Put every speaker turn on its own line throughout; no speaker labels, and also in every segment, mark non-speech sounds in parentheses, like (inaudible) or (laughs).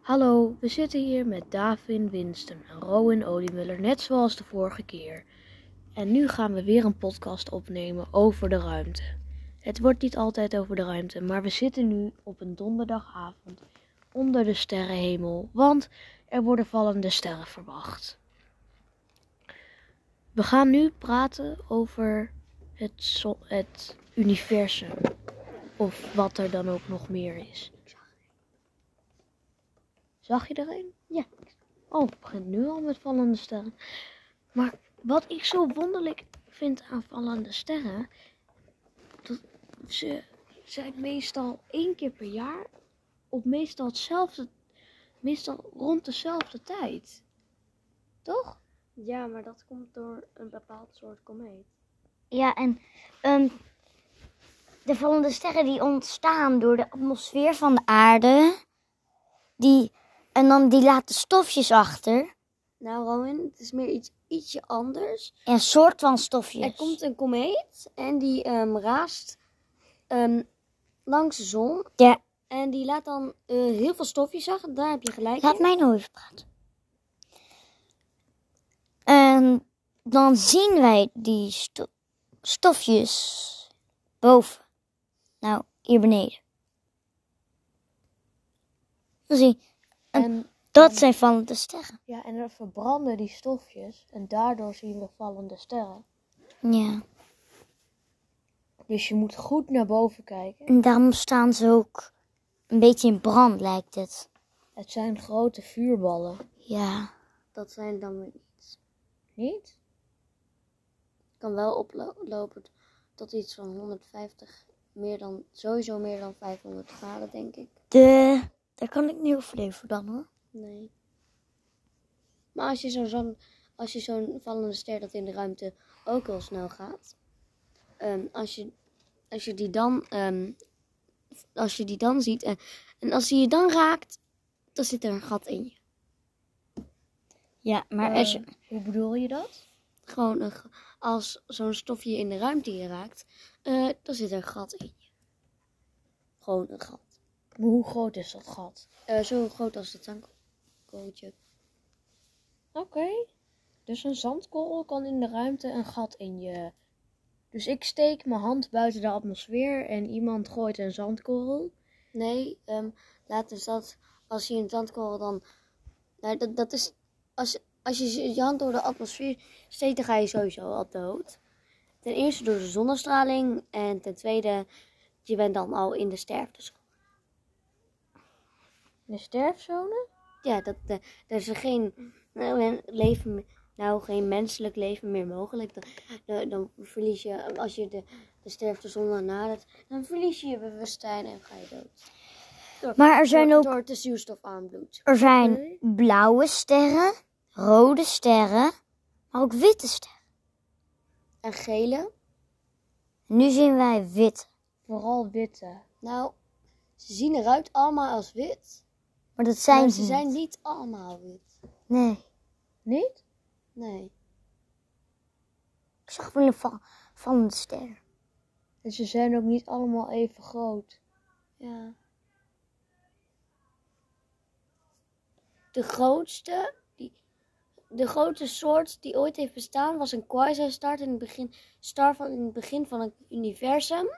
Hallo, we zitten hier met Davin Winston en Rowan Oliemuller, net zoals de vorige keer. En nu gaan we weer een podcast opnemen over de ruimte. Het wordt niet altijd over de ruimte, maar we zitten nu op een donderdagavond onder de sterrenhemel, want er worden vallende sterren verwacht. We gaan nu praten over het, zo- het universum, of wat er dan ook nog meer is. Zag je er een?
Ja.
Oh, het begint nu al met vallende sterren. Maar wat ik zo wonderlijk vind aan vallende sterren, dat ze zijn meestal één keer per jaar op meestal hetzelfde, meestal rond dezelfde tijd. Toch?
Ja, maar dat komt door een bepaald soort komeet.
Ja, en ehm, de vallende sterren die ontstaan door de atmosfeer van de aarde. Die, en dan die laten stofjes achter.
Nou, Rowan, het is meer iets, ietsje anders.
Een soort van stofjes.
Er komt een komeet en die ehm, raast ehm, langs de zon.
Ja.
En die laat dan eh, heel veel stofjes achter. Daar heb je gelijk
Laat
in.
mij nou even praten. En dan zien wij die sto- stofjes boven. Nou, hier beneden. Dan zie je, En-
En,
dat zijn vallende sterren.
ja, en er verbranden die stofjes en daardoor zien we vallende sterren.
Ja.
Dus je moet goed naar boven kijken.
En daarom staan ze ook een beetje in brand, lijkt het.
Het zijn grote vuurballen,
Ja.
Dat zijn dan weer iets.
niet?
Kan wel oplopen tot iets van 150, meer dan, sowieso meer dan 500 graden, denk ik.
De... Daar kan ik niet over leven dan, hoor.
Nee. Maar als je zo'n zon- als je zo'n vallende ster dat in de ruimte ook heel snel gaat, ehm, als, je, als je die dan ehm, als je die dan ziet en, en als die je dan raakt, dan zit er een gat in je.
Ja, maar
als je- Eh, Hoe bedoel je dat?
Gewoon een, g- als zo'n stofje in de ruimte je raakt, eh, dan zit er een gat in je. Gewoon een gat.
Maar hoe groot is dat gat?
Eh, zo groot als dat zandkorreltje.
Oké. Dus een zandkorrel kan in de ruimte een gat in je. Dus ik steek mijn hand buiten de atmosfeer en iemand gooit een zandkorrel.
Nee, ehm laat dus dat als je een zandkorrel dan. Nou, dat, dat is. Als, als je je hand door de atmosfeer steekt, dan ga je sowieso al dood. Ten eerste door de zonnestraling. En ten tweede, je bent dan al in de sterfte.
In de sterfzone?
Ja, dat, eh, er is er geen nou, men- leven, me- nou, geen menselijk leven meer mogelijk. Dan, dan, dan verlies je, als je de, de sterftezone nadert, dan verlies je je bewustzijn en ga je dood. Door-
Maar er zijn
door,
ook-
Door te zuurstofarm bloed.
Er zijn
Oké.
blauwe sterren, rode sterren, maar ook witte sterren.
En gele?
Nu zien wij wit.
Vooral witte.
Nou, ze zien eruit allemaal als wit.
Maar dat zijn
maar ze
niet.
zijn niet allemaal wit.
Nee.
Niet?
Nee.
Ik zag wel een val- vallende ster.
En ze zijn ook niet allemaal even groot.
Ja. De grootste, die, de grootste soort die ooit heeft bestaan was een quasar-star in, het begin- star van- in het begin van het universum.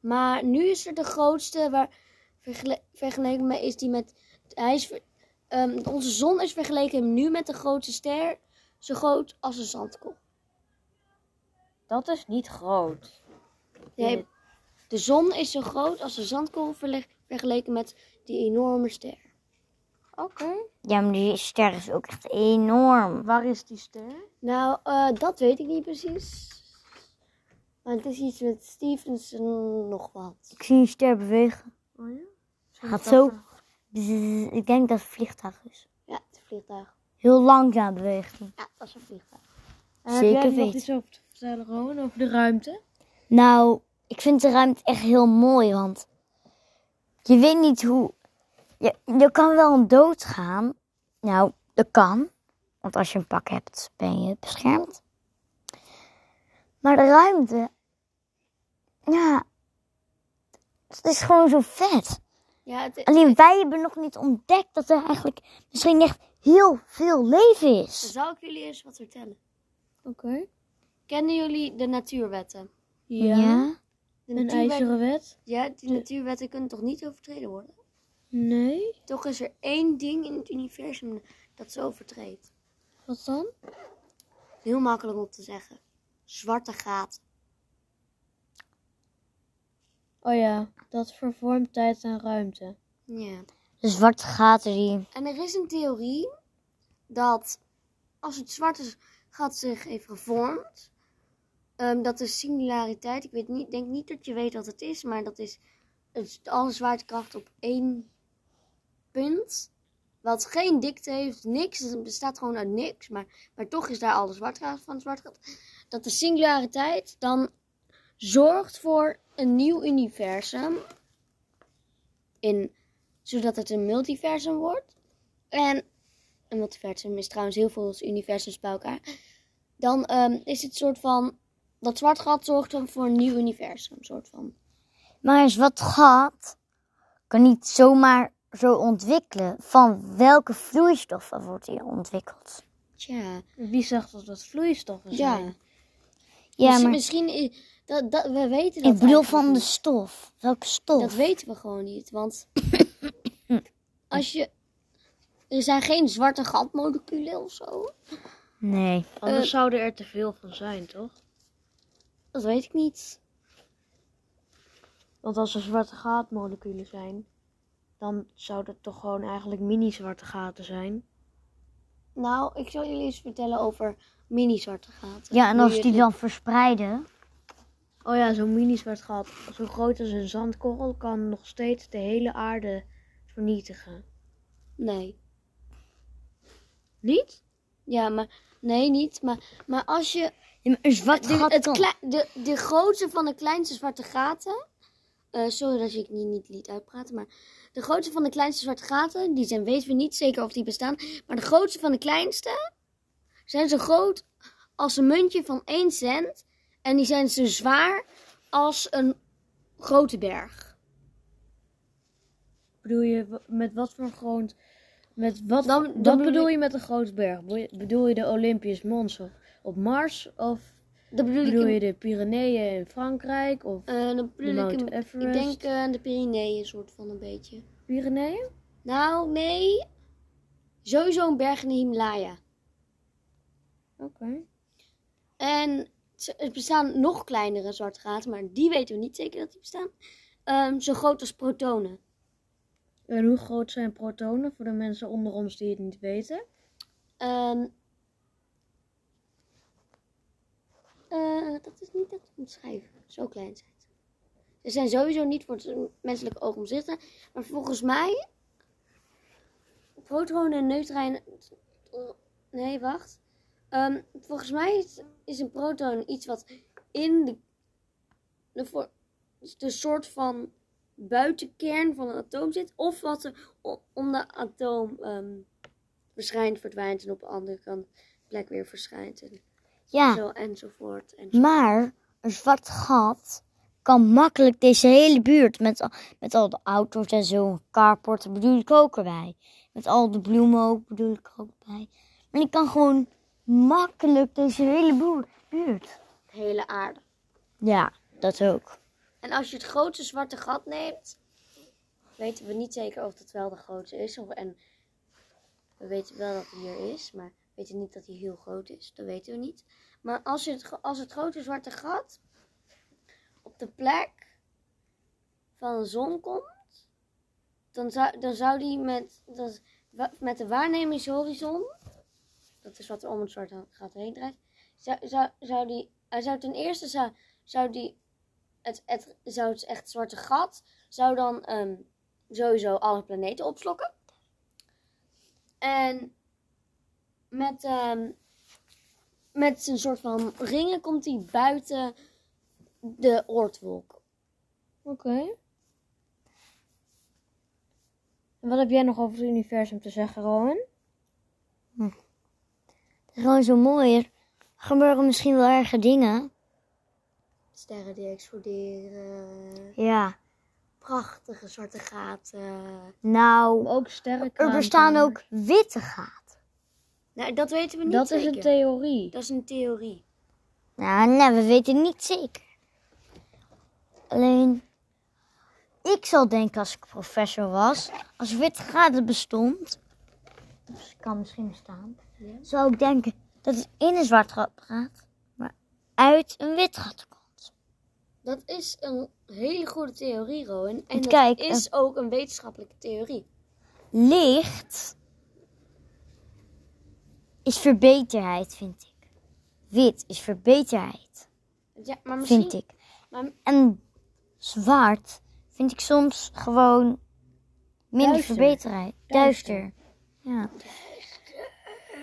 Maar nu is er de grootste, waar, vergele- vergeleken met, is die met, hij is, ver- ehm, onze zon is vergeleken nu met de grootste ster, zo groot als een zandkorrel.
Dat is niet groot.
Nee, de zon is zo groot als een zandkorrel verle- vergeleken met die enorme ster.
Oké.
Ja, maar die ster is ook echt enorm.
Waar is die ster?
Nou, eh, dat weet ik niet precies. Maar het is iets met Stevenson nog wat.
Ik zie een ster bewegen.
Oh ja?
Gaat zo. Bzzz, ik denk dat het een vliegtuig is.
Ja, het is een vliegtuig.
Heel langzaam beweegt hij.
Ja, dat is een vliegtuig.
En Eh, heb jij
Zeker
er nog
weten.
iets over te vertellen, Rowan, over de ruimte?
Nou, ik vind de ruimte echt heel mooi, want je weet niet hoe. Je, je kan wel aan dood gaan. Nou, dat kan. Want als je een pak hebt, ben je beschermd. Maar de ruimte. Ja. Het is gewoon zo vet.
Ja, het,
Alleen wij hebben nog niet ontdekt dat er eigenlijk misschien echt heel veel leven is.
zal ik jullie eens wat vertellen.
Oké.
Kennen jullie de natuurwetten?
Ja.
De
Een ijzeren wet?
Ja, die natuurwetten kunnen toch niet overtreden worden?
Nee.
Toch is er één ding in het universum dat ze overtreedt.
Wat dan?
Heel makkelijk om te zeggen. Zwarte gaten.
Oh ja, dat vervormt tijd en ruimte.
Ja.
De zwarte gaten die...
En er is een theorie dat als het zwarte gat zich heeft gevormd, ehm, dat is singulariteit. Ik weet niet, denk niet dat je weet wat het is, maar dat is het- alle zwaartekracht op één punt. Wat geen dikte heeft, niks. Het bestaat gewoon uit niks. Maar, maar toch is daar alle zwaartekracht van het zwarte gat. Dat de singulariteit dan zorgt voor een nieuw universum. In zodat het een multiversum wordt. En Ehm, een multiversum is trouwens heel veel universums bij elkaar. Dan ehm, is het soort van. Dat zwart gat zorgt dan voor een nieuw universum, soort van.
Maar een zwart gat kan niet zomaar zo ontwikkelen. Van welke vloeistoffen wordt die ontwikkeld?
Tja.
Wie zegt dat dat vloeistoffen zijn?
Ja.
Ja,
Miss-
maar
Misschien. i- Dat, dat, we weten dat.
ik bedoel
eigenlijk
van de
niet.
stof. Welke stof?
Dat weten we gewoon
(coughs)
niet. Want. als je. Er zijn geen zwarte gatmoleculen of zo.
Nee.
Anders
Eh.
zouden er te veel van zijn, toch?
Dat weet ik niet.
Want als er zwarte gaatmoleculen zijn, dan zouden het toch gewoon eigenlijk mini-zwarte gaten zijn.
Nou, ik zal jullie eens vertellen over mini-zwarte gaten.
Ja, en
Nu
als
je
die
dit-
dan verspreiden...
Oh ja, zo'n mini-zwart gat, zo groot als een zandkorrel, kan nog steeds de hele aarde vernietigen.
Nee.
Niet?
Ja, maar nee, niet. Maar, maar als je.
Ja, maar een zwart
De,
gat
het
kan...
klei- de, de grootste van de kleinste zwarte gaten. eh, sorry dat ik niet, niet liet uitpraten, maar. De grootste van de kleinste zwarte gaten, die zijn weten we niet zeker of die bestaan. Maar de grootste van de kleinste zijn zo groot als een muntje van 1 cent. En die zijn zo zwaar als een grote berg.
Bedoel je w- met wat voor groot. Met wat,
Dan-
wat
dan bedoel
bedoel
ik-
je met een groot berg? Bedoel je- Bedoel je de Olympisch Mons op, op Mars? Of
Dat bedoel,
bedoel
ik.
je
in-
de Pyreneeën in Frankrijk? Of
eh, dat
de
bedoel ik.
Mount
in- Ik
Everest?
denk eh, de Pyreneeën, soort van een beetje.
Pyreneeën?
Nou, nee. Sowieso een berg in de Himalaya.
Oké.
En ze- er bestaan nog kleinere zwarte gaten, maar die weten we niet zeker dat die bestaan. Ehm, zo groot als protonen.
En hoe groot zijn protonen voor de mensen onder ons die het niet weten?
Ehm, eh, dat is niet dat te omschrijven. Zo klein zijn ze. Ze zijn sowieso niet voor het menselijk oog omzichtig. Maar volgens mij. Protonen en neutronen. Nee, wacht. Ehm, volgens mij is, is een proton iets wat in de, de, voor- de soort van buitenkern van een atoom zit. Of wat er o- om de atoom ehm, verschijnt, verdwijnt en op een andere kant plek weer verschijnt. En
Ja,
zo enzovoort. En
maar een zwart gat kan makkelijk deze hele buurt... met al, met al de auto's en zo, een carport, daar bedoel ik ook erbij. Met al de bloemen ook, bedoel ik ook bij. Maar die kan gewoon makkelijk deze hele boer- buurt.
de hele aarde.
Ja, dat ook.
En als je het grootste zwarte gat neemt, weten we niet zeker of dat wel de grootste is. Of, en we weten wel dat hij hier is, maar we weten niet dat hij heel groot is. Dat weten we niet. Maar als, je het, gro- als het grote zwarte gat op de plek van de zon komt, dan zou, dan zou die met, dat, wa- met de waarnemingshorizon, dat is wat er om het zwarte gat heen draait, zou, zou, zou die, hij zou ten eerste zou, zou die het, het, zou het echt zwarte gat zou dan ehm, sowieso alle planeten opslokken. En met, ehm, met zijn soort van ringen komt hij buiten de oortwolk.
Oké. En wat heb jij nog over het universum te zeggen, Rowan?
Het is gewoon zo mooi. Er gebeuren misschien wel erge dingen.
Sterren die exploderen,
Ja,
prachtige zwarte gaten.
Nou,
Ook sterren.
er bestaan ook witte gaten.
Nou, dat weten we niet
Dat is
zeker.
een theorie.
dat is een theorie.
Nou, nou, we weten niet zeker. Alleen, ik zou denken als ik professor was, als witte gaten bestond, dus kan misschien bestaan, zou ik denken dat het in een zwart gat gaat, maar uit een wit gat komt.
Dat is een hele goede theorie, Rowan. En
Want
dat
kijk,
is ook een wetenschappelijke theorie.
Licht is verbeterheid, vind ik. Wit is verbeterheid,
Ja, maar misschien...
vind ik.
Maar
En zwart vind ik soms gewoon minder
Duister.
verbeterheid. Duister. Ja.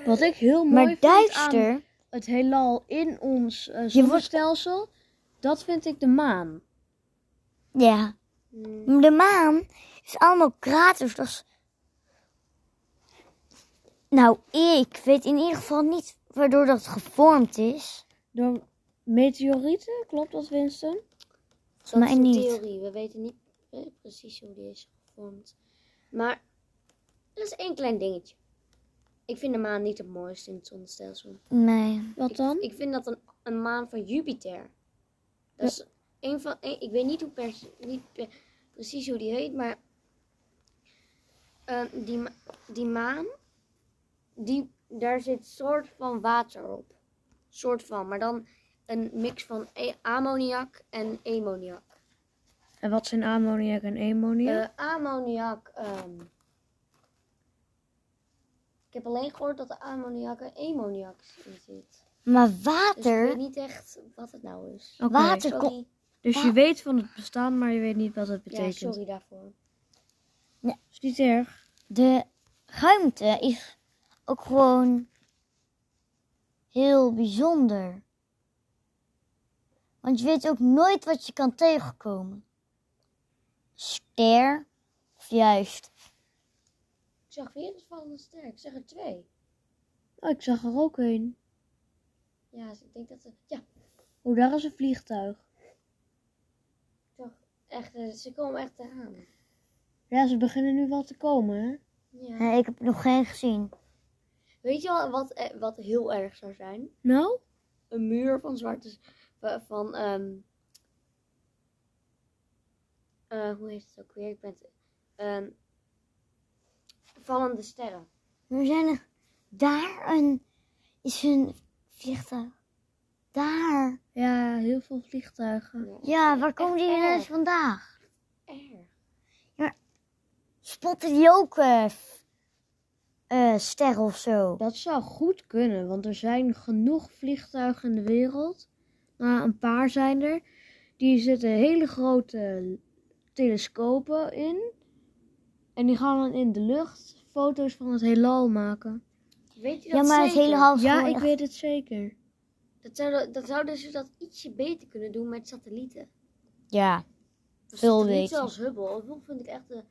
Wat ik heel mooi
Maar
vind aan
duister,
het heelal in ons eh zonnestelsel, dat vind ik de maan.
ja. Maar De maan is allemaal kraters. Dus... Nou, ik weet in ieder geval niet waardoor dat gevormd is.
Door meteorieten, klopt dat Winston?
Dat
mij
is een
niet.
theorie. We weten niet eh, precies hoe die is gevormd. Maar er is één klein dingetje. Ik vind de maan niet het mooiste in het zonnestelsel.
Nee.
Wat dan?
Ik vind dat een, een maan van Jupiter. Dat is een van... een- ik weet niet, hoe pers- niet pe- precies hoe die heet, maar... eh, die, ma- die maan, die, daar zit soort van water op. Soort van, maar dan een mix van e- ammoniak en emoniak.
En wat zijn ammoniak en
Eh,
ammoniak?
ammoniak. ehm, ik heb alleen gehoord dat de ammoniak en ammoniak in zit.
Maar
Dus ik weet
water,
niet echt wat het nou is.
Oké,
water
Sorry.
komt.
Dus je weet van het bestaan, maar je weet niet wat het
Ja,
betekent.
sorry daarvoor.
Is niet erg.
De ruimte is ook gewoon heel bijzonder. Want je weet ook nooit wat je kan tegenkomen. Ster, of juist.
Ik zag weer een vallende ster. Ik zag er twee.
Oh, ik zag er ook een.
Ja, dus ik denk dat ze. Ja,
Oh, daar is een vliegtuig.
echt. eh, Ze komen echt eraan.
Ja, ze beginnen nu wel te komen, hè?
Ja.
Nee, ik heb nog geen gezien.
Weet je wel wat, eh, wat heel erg zou zijn?
Nou?
Een muur van zwarte. z- va- Van. ehm eh, hoe heet het ook weer? Ik ben. het- ehm, vallende sterren.
Er zijn er, daar een, is een vliegtuig. Daar.
Ja, heel veel vliegtuigen.
Ja, waar komen die
erg.
ineens vandaan?
Erg.
Spotten die ook eh, f- eh, sterren of zo?
Dat zou goed kunnen, want er zijn genoeg vliegtuigen in de wereld. Nou, een paar zijn er. Die zitten hele grote telescopen in. En die gaan dan in de lucht foto's van het heelal maken.
Weet je dat
Ja, maar het
zeker?
hele half
Ja,
gewoon
ik
echt-
weet het zeker.
Dat zouden, dat zouden ze dat ietsje beter kunnen doen met satellieten.
Ja.
Dus
Veel
satellieten
beter.
Zoals Hubble. Hubble vind ik echt de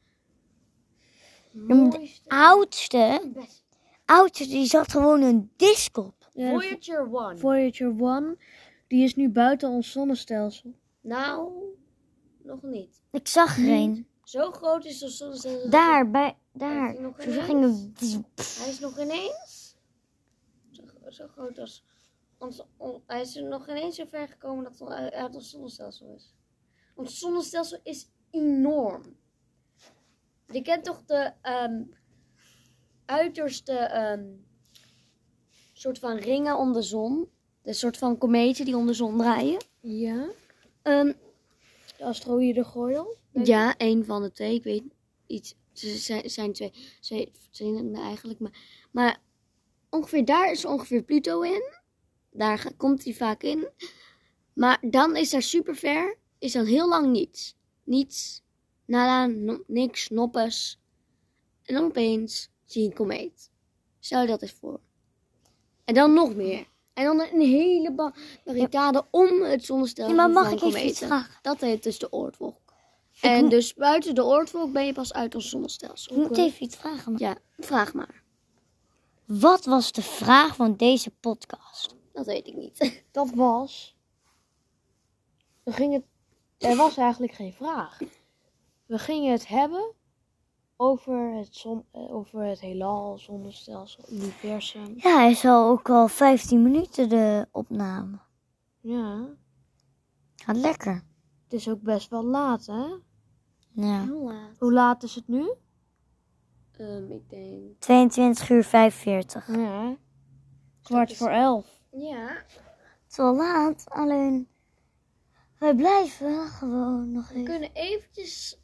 maar de
mooiste.
oudste,
beste.
oudste, die zat gewoon een disc op.
Ja, de
Voyager 1.
Voyager 1, die is nu buiten ons zonnestelsel.
Nou, nog niet.
Ik zag er een.
Zo groot is de zonnestelsel.
Daar, bij,
Heeft
daar.
hij nog
Zo
een
gingen
Hij is nog ineens zo, zo groot als... Ons, on- hij is er nog ineens zo ver gekomen dat hij uit ons zonnestelsel is. Ons zonnestelsel is enorm. Je kent toch de ehm, uiterste ehm, soort van ringen om de zon? De soort van kometen die om de zon draaien?
Ja?
Ehm,
De asteroïde Goyal?
ja, één van de twee. Ik weet iets. Ze zijn, zijn twee. Ze zijn het eigenlijk. Maar, maar ongeveer daar is ongeveer Pluto in. Daar ga- komt hij vaak in. Maar dan is daar super ver. Is dan heel lang niets. Niets. Nada, no- niks, noppes. En dan opeens zie je een komeet. Stel je dat eens voor. En dan nog meer. En dan een hele ba- barricade om het
Ja,
zonnestelsel.
maar mag
van
ik even iets
kometen.
vragen?
Dat heet dus de Oortwolk. En dus buiten de Oortwolk ben je pas uit ons
Ik
zonnestelsel.
moet even iets vragen. maar-
Ja, vraag maar.
Wat was de vraag van deze podcast?
Dat weet ik niet. (laughs)
Dat was. Er, ging het... er was eigenlijk geen vraag. We gingen het hebben over het, zon, eh, over het heelal, zonnestelsel, universum.
Ja, hij is al ook al 15 minuten de opname.
Ja,
Gaat lekker.
het is ook best wel laat, hè?
Ja.
Heel laat.
Hoe laat is het nu?
Ehm, ik denk.
22 uur 45. Het
Ja, kwart voor elf.
Ja,
is wel laat, alleen wij blijven gewoon nog
we
even.
kunnen eventjes.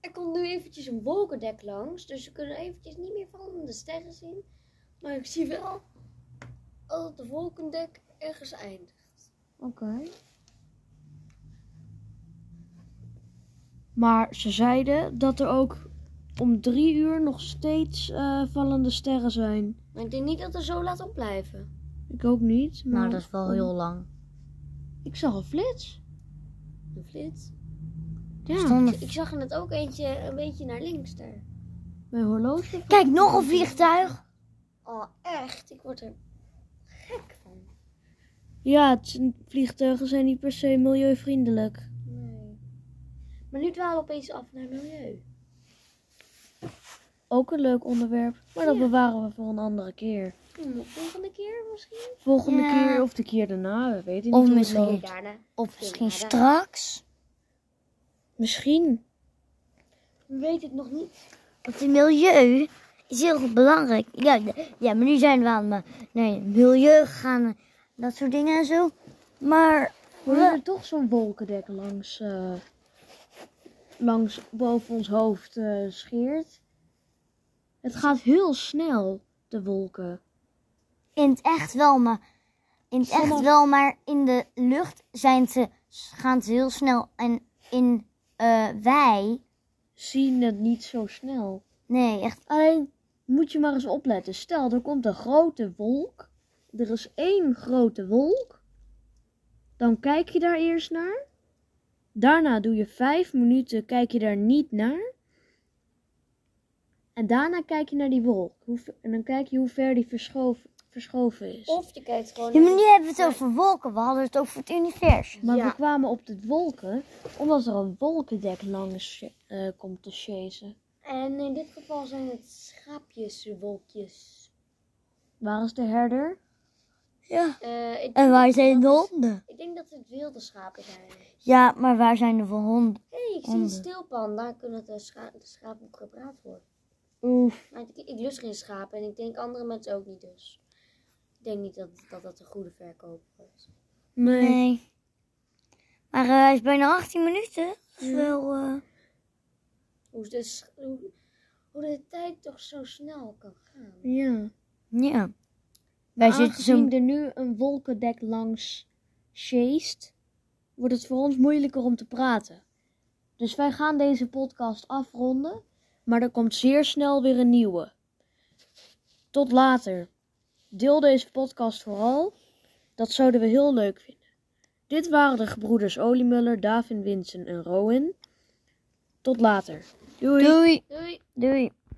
Er komt nu eventjes een wolkendek langs, dus we kunnen eventjes niet meer van de sterren zien. Maar ik zie wel dat de wolkendek ergens eindigt.
Oké. Maar ze zeiden dat er ook om drie uur nog steeds eh, vallende sterren zijn.
Maar ik denk niet dat we zo laat op blijven.
Ik ook niet, maar
Nou, dat is wel heel lang.
ik zag een flits.
Een flits.
Ja,
Stonden-
Ik zag er net ook eentje een beetje naar links daar.
mijn horloge.
Kijk, nog een vliegtuig.
Oh, echt? Ik word er gek van.
Ja, het zijn- vliegtuigen zijn niet per se milieuvriendelijk.
Nee. Maar nu dwalen we opeens af naar milieu.
Ook een leuk onderwerp, maar dat bewaren we voor een andere keer.
Hm, de Volgende keer misschien?
Volgende
Ja.
keer of de keer daarna, we weten niet
Of
hoe het
misschien-
loopt.
Daarna.
Of misschien straks.
Misschien.
We weten het nog niet.
Want het milieu is heel belangrijk. Ja, de- ja maar nu zijn we aan het nee, milieu gaan, dat soort dingen en zo. Maar
We hebben toch zo'n wolkendek langs, eh, langs boven ons hoofd eh, scheert. Het gaat heel snel, de wolken.
in het echt wel, maar in het echt wel, maar in de lucht zijn ze, gaan ze heel snel. En in eh, wij,
Zien het niet zo snel.
nee, echt.
Alleen moet je maar eens opletten. Stel, er komt een grote wolk. Er is één grote wolk. Dan kijk je daar eerst naar. Daarna doe je vijf minuten, kijk je daar niet naar. En daarna kijk je naar die wolk. Hoe ver- en dan kijk je hoe ver die verschoven, verschoven is.
Of je kijkt gewoon
Ja, maar nu hebben we het over wolken. We hadden het over het universum.
maar
ja.
we kwamen op de wolken, omdat er een wolkendek langs eh, komt te chasen.
En in dit geval zijn het schaapjeswolkjes.
Waar is de herder?
Ja.
Eh,
En
ik denk
waar
dat-
zijn de
dat is-
honden?
Ik denk dat het wilde schapen zijn. Hé,
Ja, maar waar zijn de honden?
hey, ik zie een
Honden.
stilpan. Daar kunnen de, scha de schapen op gepraat worden.
Oef.
Maar ik, ik lust geen schapen en ik denk andere mensen ook niet dus. Ik denk niet dat dat, dat een goede verkoper is.
nee.
Nee. Maar eh, hij is bijna 18 minuten. Dat is wel. eh,
Hoe de, sch- hoe, hoe de tijd toch zo snel kan gaan.
Ja.
Ja. Wij zitten
Aangezien
zo.
er nu een wolkendek langs sjeest, wordt het voor ons moeilijker om te praten. Dus wij gaan deze podcast afronden, maar er komt zeer snel weer een nieuwe. Tot later. Deel deze podcast vooral, dat zouden we heel leuk vinden. Dit waren de gebroeders Oliemuller, Davin Winsen en Rowan. Tot later. Doei.
Doei.
Doei!
Doei.